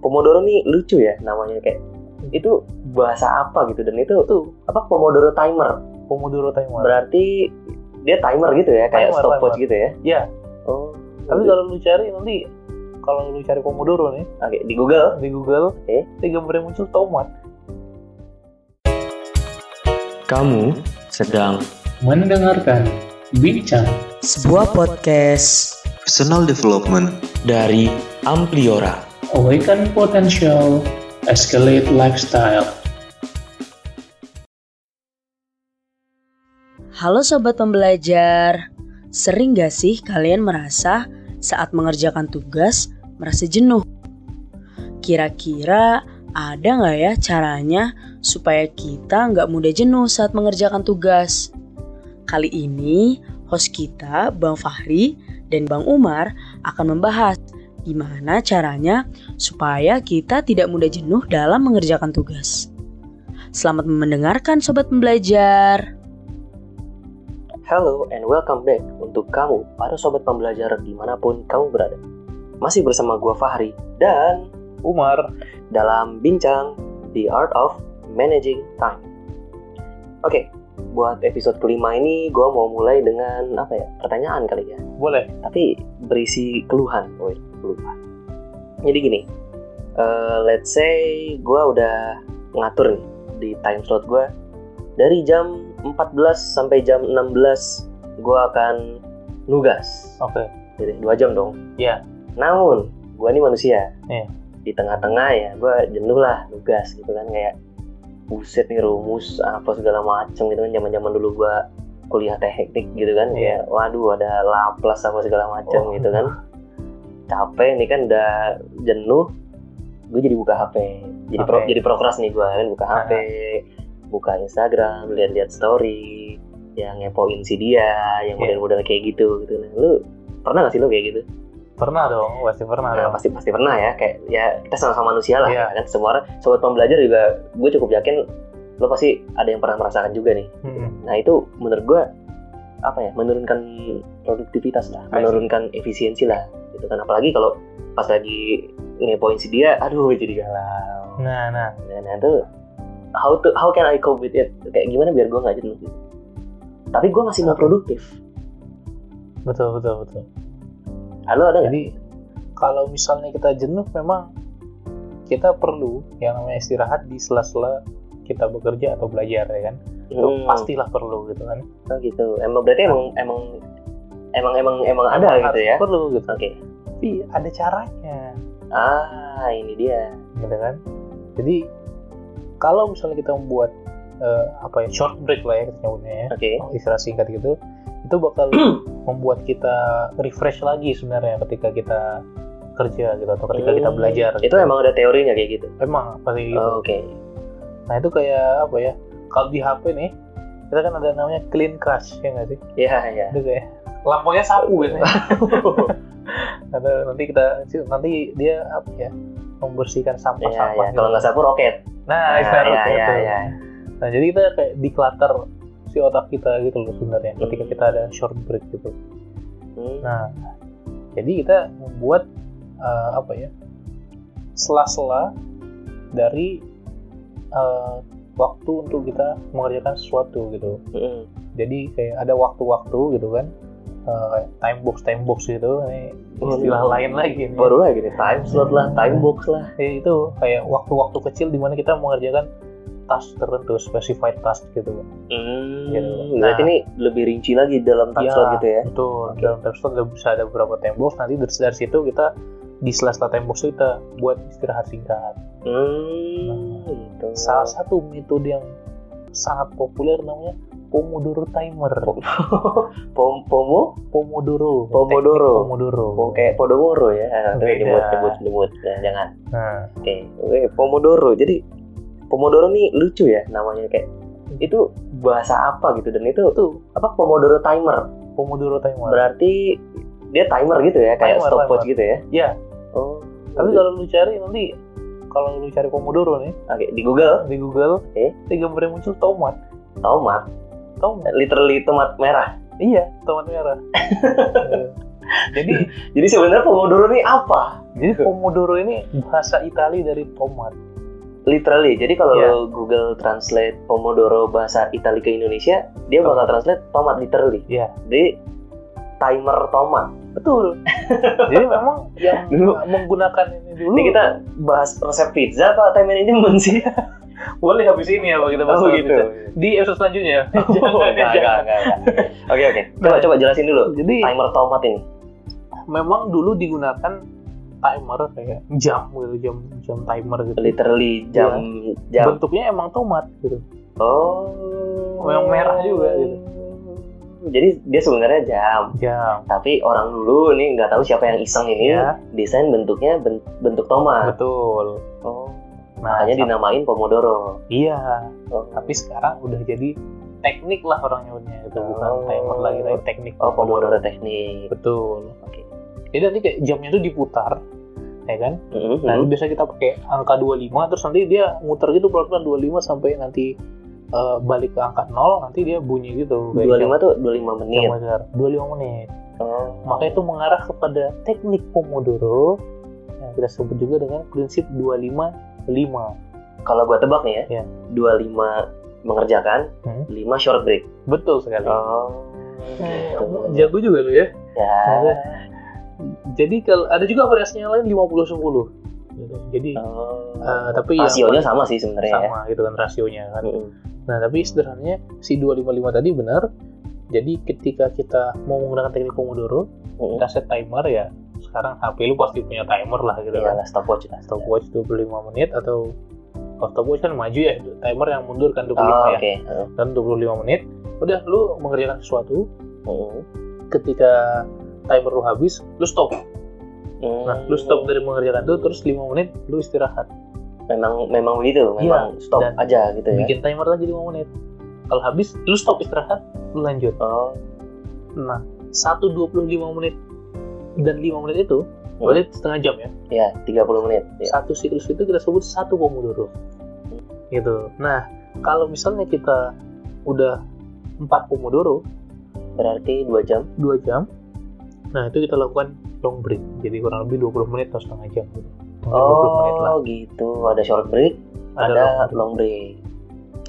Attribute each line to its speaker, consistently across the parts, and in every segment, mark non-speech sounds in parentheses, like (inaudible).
Speaker 1: Pomodoro nih lucu ya namanya kayak itu bahasa apa gitu dan itu
Speaker 2: Tuh,
Speaker 1: apa Pomodoro timer
Speaker 2: Pomodoro timer.
Speaker 1: berarti dia timer gitu ya kayak
Speaker 2: Timer,
Speaker 1: stopwatch
Speaker 2: timer.
Speaker 1: gitu ya
Speaker 2: Iya.
Speaker 1: oh
Speaker 2: Tapi kalau lu cari nanti kalau lu cari Pomodoro nih
Speaker 1: oke di Google
Speaker 2: di Google,
Speaker 1: Eh?
Speaker 2: itu gambarnya muncul tomat.
Speaker 1: kamu sedang
Speaker 3: mendengarkan bincang
Speaker 4: sebuah podcast
Speaker 5: personal development,
Speaker 1: dari Ampliora
Speaker 3: awaken potential escalate lifestyle
Speaker 4: Halo sobat pembelajar, sering gak sih kalian merasa saat mengerjakan tugas merasa jenuh? Kira-kira ada nggak ya caranya supaya kita nggak mudah jenuh saat mengerjakan tugas? Kali ini host kita Bang Fahri dan Bang Umar akan membahas gimana caranya supaya kita tidak mudah jenuh dalam mengerjakan tugas. Selamat mendengarkan sobat pembelajar.
Speaker 1: Hello and welcome back untuk kamu para sobat pembelajar dimanapun kamu berada masih bersama gua Fahri dan
Speaker 2: Umar,
Speaker 1: dalam bincang The Art of Managing Time. Oke, buat episode kelima ini gue mau mulai dengan apa ya pertanyaan kali ya,
Speaker 2: boleh.
Speaker 1: tapi berisi keluhan, woi keluhan. Jadi gini, eh, let's say gue udah ngatur nih di time slot gue dari jam 14 sampai jam 16 gue akan nugas
Speaker 2: Oke.
Speaker 1: jadi dua jam dong.
Speaker 2: Iya.
Speaker 1: Namun, gue nih manusia.
Speaker 2: Iya.
Speaker 1: Di tengah-tengah ya, gue jenuh lah tugas gitu kan kayak buset nih rumus apa segala macem gitu kan zaman-zaman dulu gue kuliah teknik gitu kan
Speaker 2: Iya.
Speaker 1: kayak waduh ada Laplace apa segala macem
Speaker 2: Oh.
Speaker 1: gitu kan capek nih kan udah jenuh gue jadi buka HP jadi pro-
Speaker 2: Oke.
Speaker 1: jadi prokras nih gue kan buka
Speaker 2: Ah.
Speaker 1: HP buka Instagram lihat-lihat story yang ngepoin si dia yang
Speaker 2: Iya.
Speaker 1: model-model kayak gitu gitu nah, lu pernah gak sih lu kayak gitu
Speaker 2: Pernah dong, pasti pernah
Speaker 1: Nah,
Speaker 2: dong.
Speaker 1: pasti pasti pernah ya kayak ya kita sama-sama manusia lah
Speaker 2: Iya.
Speaker 1: kan semua orang sobat pembelajar juga gue cukup yakin lo pasti ada yang pernah merasakan juga nih
Speaker 2: Mm-mm.
Speaker 1: nah itu menurut gue apa ya menurunkan produktivitas lah
Speaker 2: I see.
Speaker 1: menurunkan efisiensi lah gitu kan apalagi kalau pas lagi ngepoin si dia aduh jadi galau
Speaker 2: Nah, nah.
Speaker 1: nah, nah, itu how to how can I cope with it kayak gimana biar gue nggak jenuh gitu tapi gue masih mau produktif
Speaker 2: Betul, betul, betul.
Speaker 1: halo ada nggak
Speaker 2: Jadi kalau misalnya kita jenuh memang kita perlu yang namanya istirahat di sela-sela kita bekerja atau belajar ya kan. Itu
Speaker 1: Hmm.
Speaker 2: pastilah perlu gitu kan.
Speaker 1: Oh gitu. Emang berarti emang emang emang emang emang ada
Speaker 2: Memang
Speaker 1: gitu
Speaker 2: harus
Speaker 1: ya.
Speaker 2: Perlu gitu.
Speaker 1: Oke.
Speaker 2: Tapi ada caranya
Speaker 1: Ah, ini dia.
Speaker 2: gitu kan. Jadi kalau misalnya kita membuat eh, apa ya short break lah ya kita nyebutnya ya.
Speaker 1: Oke.
Speaker 2: istirahat singkat gitu itu bakal membuat kita refresh lagi sebenarnya ketika kita kerja gitu atau (clears throat) ketika kita
Speaker 1: Hmm.
Speaker 2: belajar
Speaker 1: Itu
Speaker 2: gitu.
Speaker 1: emang ada teorinya kayak gitu.
Speaker 2: emang pasti gitu.
Speaker 1: Oke.
Speaker 2: Nah itu kayak apa ya? Kalau di HP nih, kita kan ada namanya clean crush ya nggak sih?
Speaker 1: Iya, iya.
Speaker 2: Itu kayak lampunya sapu (laughs) biasanya. Ada nanti kita nanti dia apa ya? Membersihkan
Speaker 1: Iya,
Speaker 2: sampah-sampah.
Speaker 1: iya. Kalau nggak sapu roket.
Speaker 2: gitu. Nah,
Speaker 1: Iya,
Speaker 2: ibaratnya
Speaker 1: iya, iya,
Speaker 2: tuh.
Speaker 1: iya.
Speaker 2: Nah jadi kita kayak declutter si otak kita gitu loh sebenarnya ketika
Speaker 1: Hmm.
Speaker 2: kita ada short break gitu.
Speaker 1: Hmm.
Speaker 2: Nah jadi kita membuat eh, apa ya? Sela-sela dari eh, waktu untuk kita mengerjakan sesuatu gitu.
Speaker 1: Mm-mm.
Speaker 2: jadi kayak ada waktu-waktu gitu kan Eh, kayak time box time box gitu ini istilah lain lagi
Speaker 1: Hmm.
Speaker 2: nih.
Speaker 1: Baru lagi nih time slot lah, time box lah.
Speaker 2: Ya, itu kayak waktu-waktu kecil di mana kita mengerjakan task tertentu specified task gitu
Speaker 1: Hmm.
Speaker 2: Gitu.
Speaker 1: Berarti
Speaker 2: Nah.
Speaker 1: ini lebih rinci lagi dalam time
Speaker 2: Ya,
Speaker 1: slot gitu ya.
Speaker 2: betul
Speaker 1: Oke.
Speaker 2: dalam time slot udah bisa ada beberapa time box nanti dari, dari situ kita di sela-sela time box itu kita buat istirahat singkat
Speaker 1: Hmm. Gitu.
Speaker 2: salah satu metode yang sangat populer namanya Pomodoro timer
Speaker 1: (laughs) Pom pomo,
Speaker 2: Pomodoro
Speaker 1: Pomodoro.
Speaker 2: Teknik Pomodoro
Speaker 1: pom kayak podomoro ya. Aduh,
Speaker 2: Beda.
Speaker 1: nyebut nyebut nyebut. Nah, jangan.
Speaker 2: nah
Speaker 1: Oke, oke, Pomodoro. Jadi Pomodoro nih lucu ya namanya kayak itu bahasa apa gitu dan itu
Speaker 2: itu
Speaker 1: apa Pomodoro timer.
Speaker 2: Pomodoro timer
Speaker 1: Berarti dia timer gitu ya kayak
Speaker 2: Timer,
Speaker 1: stopwatch
Speaker 2: timer.
Speaker 1: gitu ya.
Speaker 2: Iya.
Speaker 1: Oh.
Speaker 2: Tapi kalau lu cari nanti kalau lu cari pomodoro nih
Speaker 1: oke di Google
Speaker 2: di Google,
Speaker 1: Eh?
Speaker 2: itu gambarnya muncul tomat,
Speaker 1: tomat
Speaker 2: tomat.
Speaker 1: literally tomat merah. (laughs)
Speaker 2: Iya, tomat merah. Iya. Jadi
Speaker 1: Jadi sebenarnya Pomodoro ini apa?
Speaker 2: jadi pomodoro ini bahasa Itali dari tomat.
Speaker 1: Literally. Jadi kalau
Speaker 2: Iya.
Speaker 1: lo Google Translate Pomodoro bahasa Itali ke Indonesia, dia bakal translate tomat literally.
Speaker 2: Iya.
Speaker 1: Jadi timer tomat. (laughs)
Speaker 2: Betul. Jadi memang yang
Speaker 1: Dulu-
Speaker 2: Nah, menggunakan ini dulu.
Speaker 1: Ini kita bahas resep pizza apa time management sih?
Speaker 2: boleh habis ini ya Pak, (laughs) kita bahas
Speaker 1: Oh,
Speaker 2: gitu. Di episode (laughs) selanjutnya.
Speaker 1: Oh,
Speaker 2: Jangan,
Speaker 1: (laughs) enggak, enggak,
Speaker 2: jangan. (laughs)
Speaker 1: enggak, enggak. Oke, oke. Coba coba jelasin dulu.
Speaker 2: Jadi
Speaker 1: Timer tomat ini.
Speaker 2: memang dulu digunakan timer kayak jam gitu, jam jam timer gitu.
Speaker 1: Literally jam jam.
Speaker 2: Bentuknya emang tomat gitu.
Speaker 1: Oh.
Speaker 2: Yang merah juga, gitu.
Speaker 1: Jadi dia sebenarnya jam,
Speaker 2: Jam.
Speaker 1: tapi orang dulu nih nggak tahu siapa yang iseng ini
Speaker 2: Ya,
Speaker 1: desain bentuknya ben- bentuk tomat.
Speaker 2: betul.
Speaker 1: Oh.
Speaker 2: Nah,
Speaker 1: Makanya
Speaker 2: sa-
Speaker 1: dinamain pomodoro.
Speaker 2: iya,
Speaker 1: Oh.
Speaker 2: tapi sekarang udah jadi teknik lah orang nyebutnya itu bukan
Speaker 1: Oh.
Speaker 2: timer lagi tapi teknik
Speaker 1: Oh, pomodoro teknik.
Speaker 2: betul
Speaker 1: Oke.
Speaker 2: jadi nanti kayak jamnya tuh diputar ya kan
Speaker 1: Mhm.
Speaker 2: nah biasa kita pakai angka 25 terus nanti dia muter gitu pelan-pelan 25 sampai nanti eh, balik ke angka 0 nanti dia bunyi gitu kayak
Speaker 1: 25 tuh 25
Speaker 2: jam- jam
Speaker 1: menit.
Speaker 2: wajar. 25 menit
Speaker 1: Oh.
Speaker 2: maka itu mengarah kepada teknik Pomodoro yang kita sebut juga dengan prinsip 25 5
Speaker 1: Kalau gua tebak nih ya,
Speaker 2: Iya.
Speaker 1: 25 mengerjakan,
Speaker 2: Hmm.
Speaker 1: 5 short break.
Speaker 2: betul sekali
Speaker 1: Oh.
Speaker 2: Eh,
Speaker 1: gitu.
Speaker 2: jago juga lu ya
Speaker 1: Ya.
Speaker 2: Jadi kalau ada juga variasinya yang lain 50 10. Gitu. Jadi
Speaker 1: Oh.
Speaker 2: eh, tapi yang
Speaker 1: Rasionya
Speaker 2: paling
Speaker 1: sama sih sebenarnya ya.
Speaker 2: sama gitu kan rasionya kan.
Speaker 1: Mm-mm.
Speaker 2: Nah, tapi sederhananya si 255 tadi benar. Jadi ketika kita mau menggunakan teknik Pomodoro,
Speaker 1: Mm-mm.
Speaker 2: kita set timer ya. Sekarang HP lu pasti punya timer lah gitu kan.
Speaker 1: Iyalah Iya, stopwatch Oh, lah.
Speaker 2: Stopwatch 25 menit atau kalau stopwatch kan maju ya, timer yang mundur kan 25
Speaker 1: Oh,
Speaker 2: ya.
Speaker 1: oke. Heeh.
Speaker 2: Dan 25 menit udah lu mengerjakan sesuatu,
Speaker 1: Mm-mm.
Speaker 2: ketika timer lu habis, lu stop.
Speaker 1: Hmm.
Speaker 2: Nah, lu stop dari mengerjakan itu terus 5 menit lu istirahat.
Speaker 1: Memang memang begitu,
Speaker 2: Iya,
Speaker 1: memang stop
Speaker 2: dan
Speaker 1: aja gitu ya.
Speaker 2: Bikin timer lagi 5 menit. Kalau habis lu stop istirahat, lu lanjut.
Speaker 1: Oh.
Speaker 2: Nah, 1.25 menit dan 5 menit itu
Speaker 1: Hmm.
Speaker 2: berarti setengah jam ya.
Speaker 1: Ya, 30 menit. Ya.
Speaker 2: Satu siklus itu kita sebut satu pomodoro. Gitu. Nah, kalau misalnya kita udah 4 pomodoro,
Speaker 1: Berarti 2 jam.
Speaker 2: 2 jam. Nah, itu kita lakukan long break. Jadi kurang lebih 20 menit atau setengah jam gitu. Mungkin 20 menit lah.
Speaker 1: Oh, gitu. Ada short break, ada,
Speaker 2: long break.
Speaker 1: long break.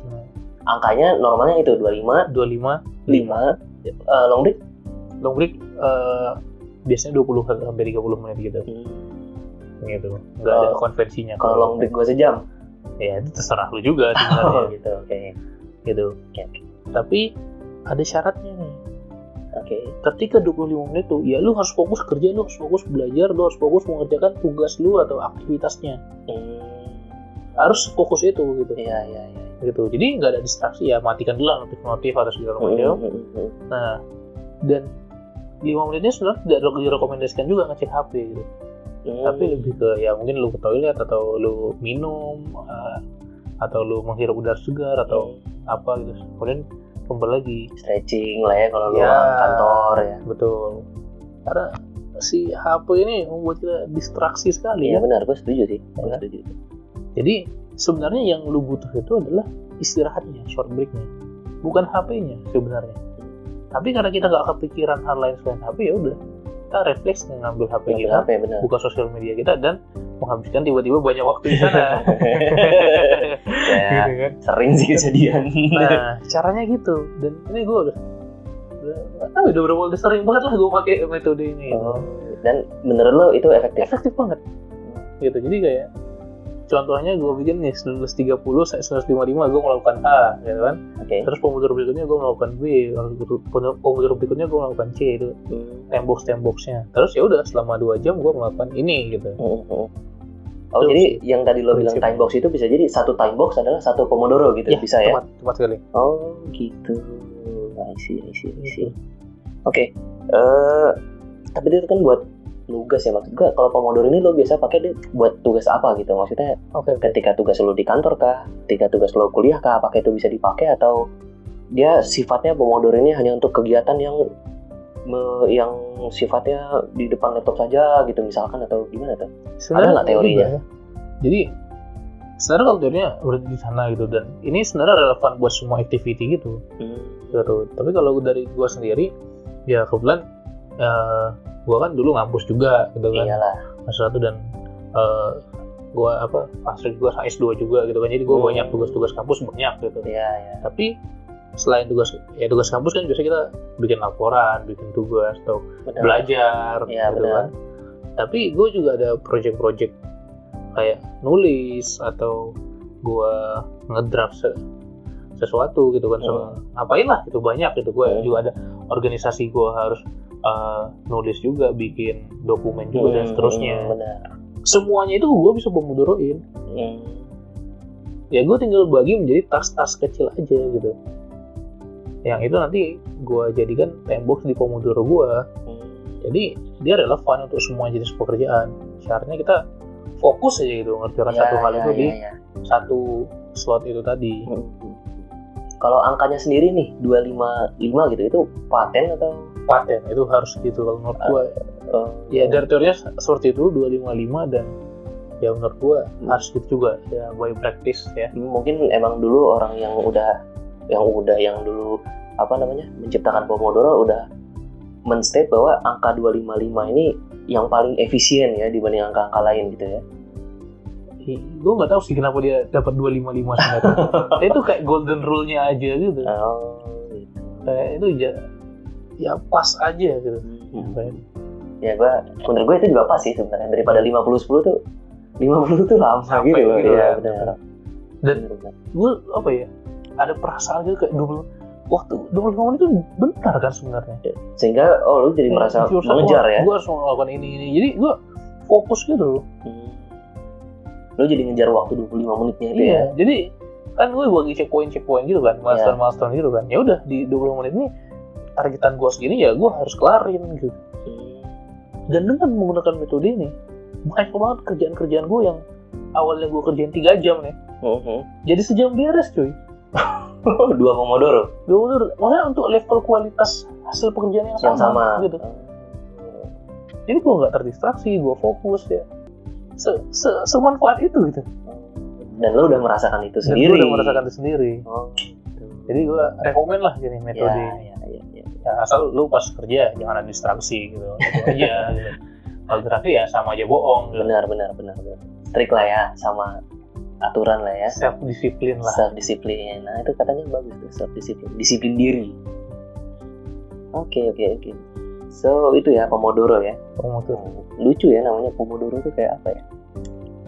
Speaker 2: Nah,
Speaker 1: Angkanya normalnya itu
Speaker 2: Hmm.
Speaker 1: 25,
Speaker 2: 25
Speaker 1: 5. Eh, long break
Speaker 2: long break eh, biasanya 20 sampai 30 menit gitu gitu nggak ada
Speaker 1: Kalau-
Speaker 2: konversinya
Speaker 1: Hmm. Oh. kalau long break gua
Speaker 2: (laughs)
Speaker 1: sejam.
Speaker 2: ya itu terserah lu
Speaker 1: (laughs) Oh,
Speaker 2: juga sebenarnya
Speaker 1: gitu. Oke.
Speaker 2: gitu
Speaker 1: Oke.
Speaker 2: tapi ada syaratnya nih
Speaker 1: Oke.
Speaker 2: ketika 25 menit tuh ya lu harus fokus kerja lu harus fokus belajar lu harus fokus mengerjakan tugas lu atau aktivitasnya
Speaker 1: Hmm.
Speaker 2: harus fokus itu gitu
Speaker 1: Iya, iya, iya.
Speaker 2: gitu jadi nggak ada distraksi ya matikan dulu lah notif-notif atau segala macam
Speaker 1: Mm, mm, mm.
Speaker 2: nah dan 5 menitnya sebenarnya tidak direkomendasikan juga ngecek HP gitu
Speaker 1: Hmm.
Speaker 2: tapi lebih ke ya mungkin lu ke toilet atau lu minum eh, atau lu menghirup udara segar atau apa gitu kemudian kembali lagi
Speaker 1: stretching lah ya kalau lu
Speaker 2: Ya.
Speaker 1: orang kantor ya.
Speaker 2: betul karena si HP ini membuat kita distraksi sekali
Speaker 1: Iya
Speaker 2: ya
Speaker 1: benar, gue setuju sih. Gua
Speaker 2: Iya.
Speaker 1: setuju.
Speaker 2: jadi sebenarnya yang lu butuh itu adalah istirahatnya short breaknya bukan HP-nya sebenarnya tapi karena kita nggak kepikiran hal lain selain HP ya udah kita refleks ngambil HP
Speaker 1: Ngambil
Speaker 2: kita
Speaker 1: HP Iya, benar.
Speaker 2: (laughs)
Speaker 1: (laughs)
Speaker 2: buka sosial media kita dan menghabiskan tiba-tiba banyak waktu di
Speaker 1: (laughs)
Speaker 2: sana
Speaker 1: ya,
Speaker 2: Gitu kan.
Speaker 1: sering sih kejadian.
Speaker 2: Nah, caranya gitu. Dan ini gue udah udah nggak tahu udah berapa udah sering banget lah gue pakai metode ini.
Speaker 1: Oh, Dan menurut lo itu efektif?
Speaker 2: Efektif Ya, banget. Gitu. Jadi kayak contohnya gue bikin nih 1930 saya 1955 gue melakukan A gitu kan
Speaker 1: Oke.
Speaker 2: terus pomodoro berikutnya gue melakukan B pomodoro berikutnya gue melakukan C itu
Speaker 1: Oh,
Speaker 2: tembox temboxnya terus ya udah selama dua jam gue melakukan ini gitu
Speaker 1: Mm-mm. Oh
Speaker 2: Itu
Speaker 1: jadi yang tadi lo bilang
Speaker 2: prinsipnya.
Speaker 1: time box itu bisa jadi satu time box adalah satu pomodoro gitu bisa ya?
Speaker 2: tepat tepat sekali
Speaker 1: Oh gitu. I see, I see, I see.
Speaker 2: Gitu.
Speaker 1: Oke. Eh tapi itu kan buat tugas ya maksud gua kalau pomodoro ini lo biasa pakai deh buat tugas apa gitu maksudnya
Speaker 2: oke oke.
Speaker 1: ketika tugas lo di kantor kah ketika tugas lo kuliah kah apakah itu bisa dipakai atau dia sifatnya pomodoro ini hanya untuk kegiatan yang me- yang sifatnya di depan laptop saja gitu misalkan atau gimana tuh
Speaker 2: Sebenarnya
Speaker 1: nggak teorinya?
Speaker 2: juga ya. Jadi sebenarnya kalau teorinya berarti di sana gitu dan ini sebenarnya relevan buat semua activity
Speaker 1: Iya
Speaker 2: gitu gitu. Tapi kalau dari gua sendiri ya kebetulan eh, gua kan dulu ngampus juga gitu kan
Speaker 1: iyalah
Speaker 2: semester satu dan eh, gua apa pasir juga S2 juga gitu kan jadi gua
Speaker 1: Hmm.
Speaker 2: banyak tugas-tugas kampus banyak gitu
Speaker 1: iya iya
Speaker 2: tapi selain tugas ya tugas kampus kan biasanya kita bikin laporan bikin tugas atau
Speaker 1: benar.
Speaker 2: belajar
Speaker 1: Ya. Iya,
Speaker 2: gitu
Speaker 1: benar.
Speaker 2: kan tapi gue juga ada project-project kayak nulis atau gue ngedraft se- sesuatu gitu kan
Speaker 1: Iya.
Speaker 2: sama ngapain lah gitu banyak gitu gue
Speaker 1: Hmm.
Speaker 2: juga ada organisasi gue harus eh, nulis juga bikin dokumen juga dan
Speaker 1: Hmm,
Speaker 2: seterusnya
Speaker 1: hmm, benar
Speaker 2: semuanya itu gue bisa pomodoroin
Speaker 1: Hmm,
Speaker 2: ya gue tinggal bagi menjadi task-task kecil aja gitu yang itu nanti gue jadikan tembok di pomodoro gue
Speaker 1: hmm.
Speaker 2: jadi dia relevan untuk semua jenis pekerjaan syaratnya kita fokus aja gitu ngerjakan
Speaker 1: Iya,
Speaker 2: satu hal
Speaker 1: iya,
Speaker 2: itu di
Speaker 1: iya, iya.
Speaker 2: satu slot itu tadi
Speaker 1: Hmm. kalau angkanya sendiri nih 255 gitu itu paten atau
Speaker 2: paten itu harus gitu kalau menurut gua
Speaker 1: eh,
Speaker 2: ya dari teorinya seperti itu 255 dan ya menurut gua
Speaker 1: Hmm.
Speaker 2: harus gitu juga ya by practice ya
Speaker 1: mungkin emang dulu orang yang udah yang udah yang dulu apa namanya menciptakan Pomodoro udah menstate bahwa angka 255 ini yang paling efisien ya dibanding angka-angka lain gitu ya.
Speaker 2: gue nggak tahu sih kenapa dia dapat 255 sebenarnya
Speaker 1: (laughs)
Speaker 2: itu kayak golden rule-nya aja gitu
Speaker 1: Oh, gitu.
Speaker 2: kayak itu ya ya pas aja gitu
Speaker 1: Iya. Hmm.
Speaker 2: Kayak,
Speaker 1: Ya gua menurut gue itu juga pas sih sebenarnya daripada 50 10 tuh 50 tuh lama
Speaker 2: Capek
Speaker 1: gitu loh.
Speaker 2: gitu
Speaker 1: Iya,
Speaker 2: ya.
Speaker 1: benar.
Speaker 2: Dan-
Speaker 1: Benar,
Speaker 2: gue apa ya ada perasaan gitu kayak double waktu double kawan itu bentar kan sebenarnya
Speaker 1: benar. sehingga oh lu jadi
Speaker 2: Hmm,
Speaker 1: merasa mengejar ya.
Speaker 2: gue harus melakukan ini ini jadi gue fokus gitu loh
Speaker 1: Hmm. Lu jadi ngejar waktu 25 menitnya itu ya. Iya.
Speaker 2: iya jadi kan gue bagi checkpoint checkpoint gitu kan milestone milestone gitu kan ya udah di 20 menit ini targetan gue segini ya gue harus kelarin gitu dan dengan menggunakan metode ini banyak banget kerjaan-kerjaan gue yang awalnya gue kerjain 3 jam nih jadi sejam beres cuy
Speaker 1: Mhm. Oh, (laughs) Dua Pomodoro.
Speaker 2: Gue menurut- maksudnya untuk level kualitas hasil pekerjaan yang sama,
Speaker 1: yang sama.
Speaker 2: gitu jadi gue nggak terdistraksi gue fokus ya se, se semanfaat itu gitu
Speaker 1: Dan lo udah merasakan itu
Speaker 2: dan
Speaker 1: sendiri.
Speaker 2: gue udah merasakan itu sendiri
Speaker 1: Oh, gitu.
Speaker 2: jadi gue rekomen lah jadi
Speaker 1: ya,
Speaker 2: metode ini.
Speaker 1: ya, ya, ya.
Speaker 2: ya, asal lu pas kerja jangan ada distraksi gitu Itu
Speaker 1: (laughs)
Speaker 2: aja gitu. kalau distraksi ya sama aja bohong gitu.
Speaker 1: Benar, benar, benar, benar. Trik lah ya, sama aturan lah ya.
Speaker 2: self disiplin lah
Speaker 1: Self disiplin. Nah itu katanya bagus tuh self disiplin. Disiplin diri. Oke, oke, oke. So itu ya Pomodoro ya.
Speaker 2: kamu tuh
Speaker 1: Lucu ya namanya Pomodoro tuh kayak apa ya?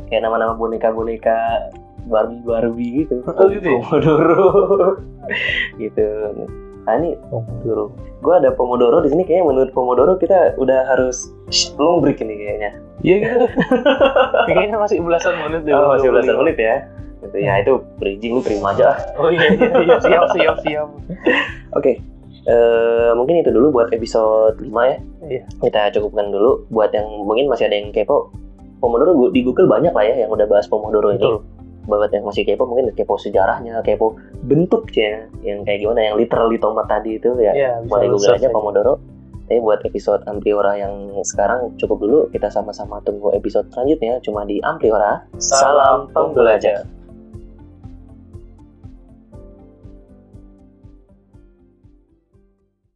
Speaker 1: Kayak nama-nama boneka-boneka Barbie Barbie gitu.
Speaker 2: Oh, gitu ya?
Speaker 1: Pomodoro. (laughs) gitu. Nah ini
Speaker 2: Pomodoro.
Speaker 1: gue ada pomodoro di sini kayaknya menurut pomodoro kita udah harus shh, long break ini kayaknya
Speaker 2: Iya
Speaker 1: (laughs)
Speaker 2: gitu. Kayaknya masih belasan menit deh.
Speaker 1: oh,
Speaker 2: belum
Speaker 1: masih belasan
Speaker 2: 25.
Speaker 1: menit ya gitu ya itu bridging lu terima aja lah.
Speaker 2: Oh iya, iya, iya. siap siap siap.
Speaker 1: oke Eh, mungkin itu dulu buat episode 5 ya
Speaker 2: Iya.
Speaker 1: kita cukupkan dulu buat yang mungkin masih ada yang kepo pomodoro gu- di google banyak lah ya yang udah bahas pomodoro ini
Speaker 2: Betul.
Speaker 1: buat yang masih kepo mungkin kepo sejarahnya kepo bentuknya yang kayak gimana yang literally tomat tadi itu ya
Speaker 2: Iya, bisa
Speaker 1: boleh
Speaker 2: lu
Speaker 1: google aja
Speaker 2: search
Speaker 1: Pomodoro. Tapi buat episode Ampliora yang sekarang cukup dulu. Kita sama-sama tunggu episode selanjutnya cuma di Ampliora.
Speaker 2: Salam pembelajar.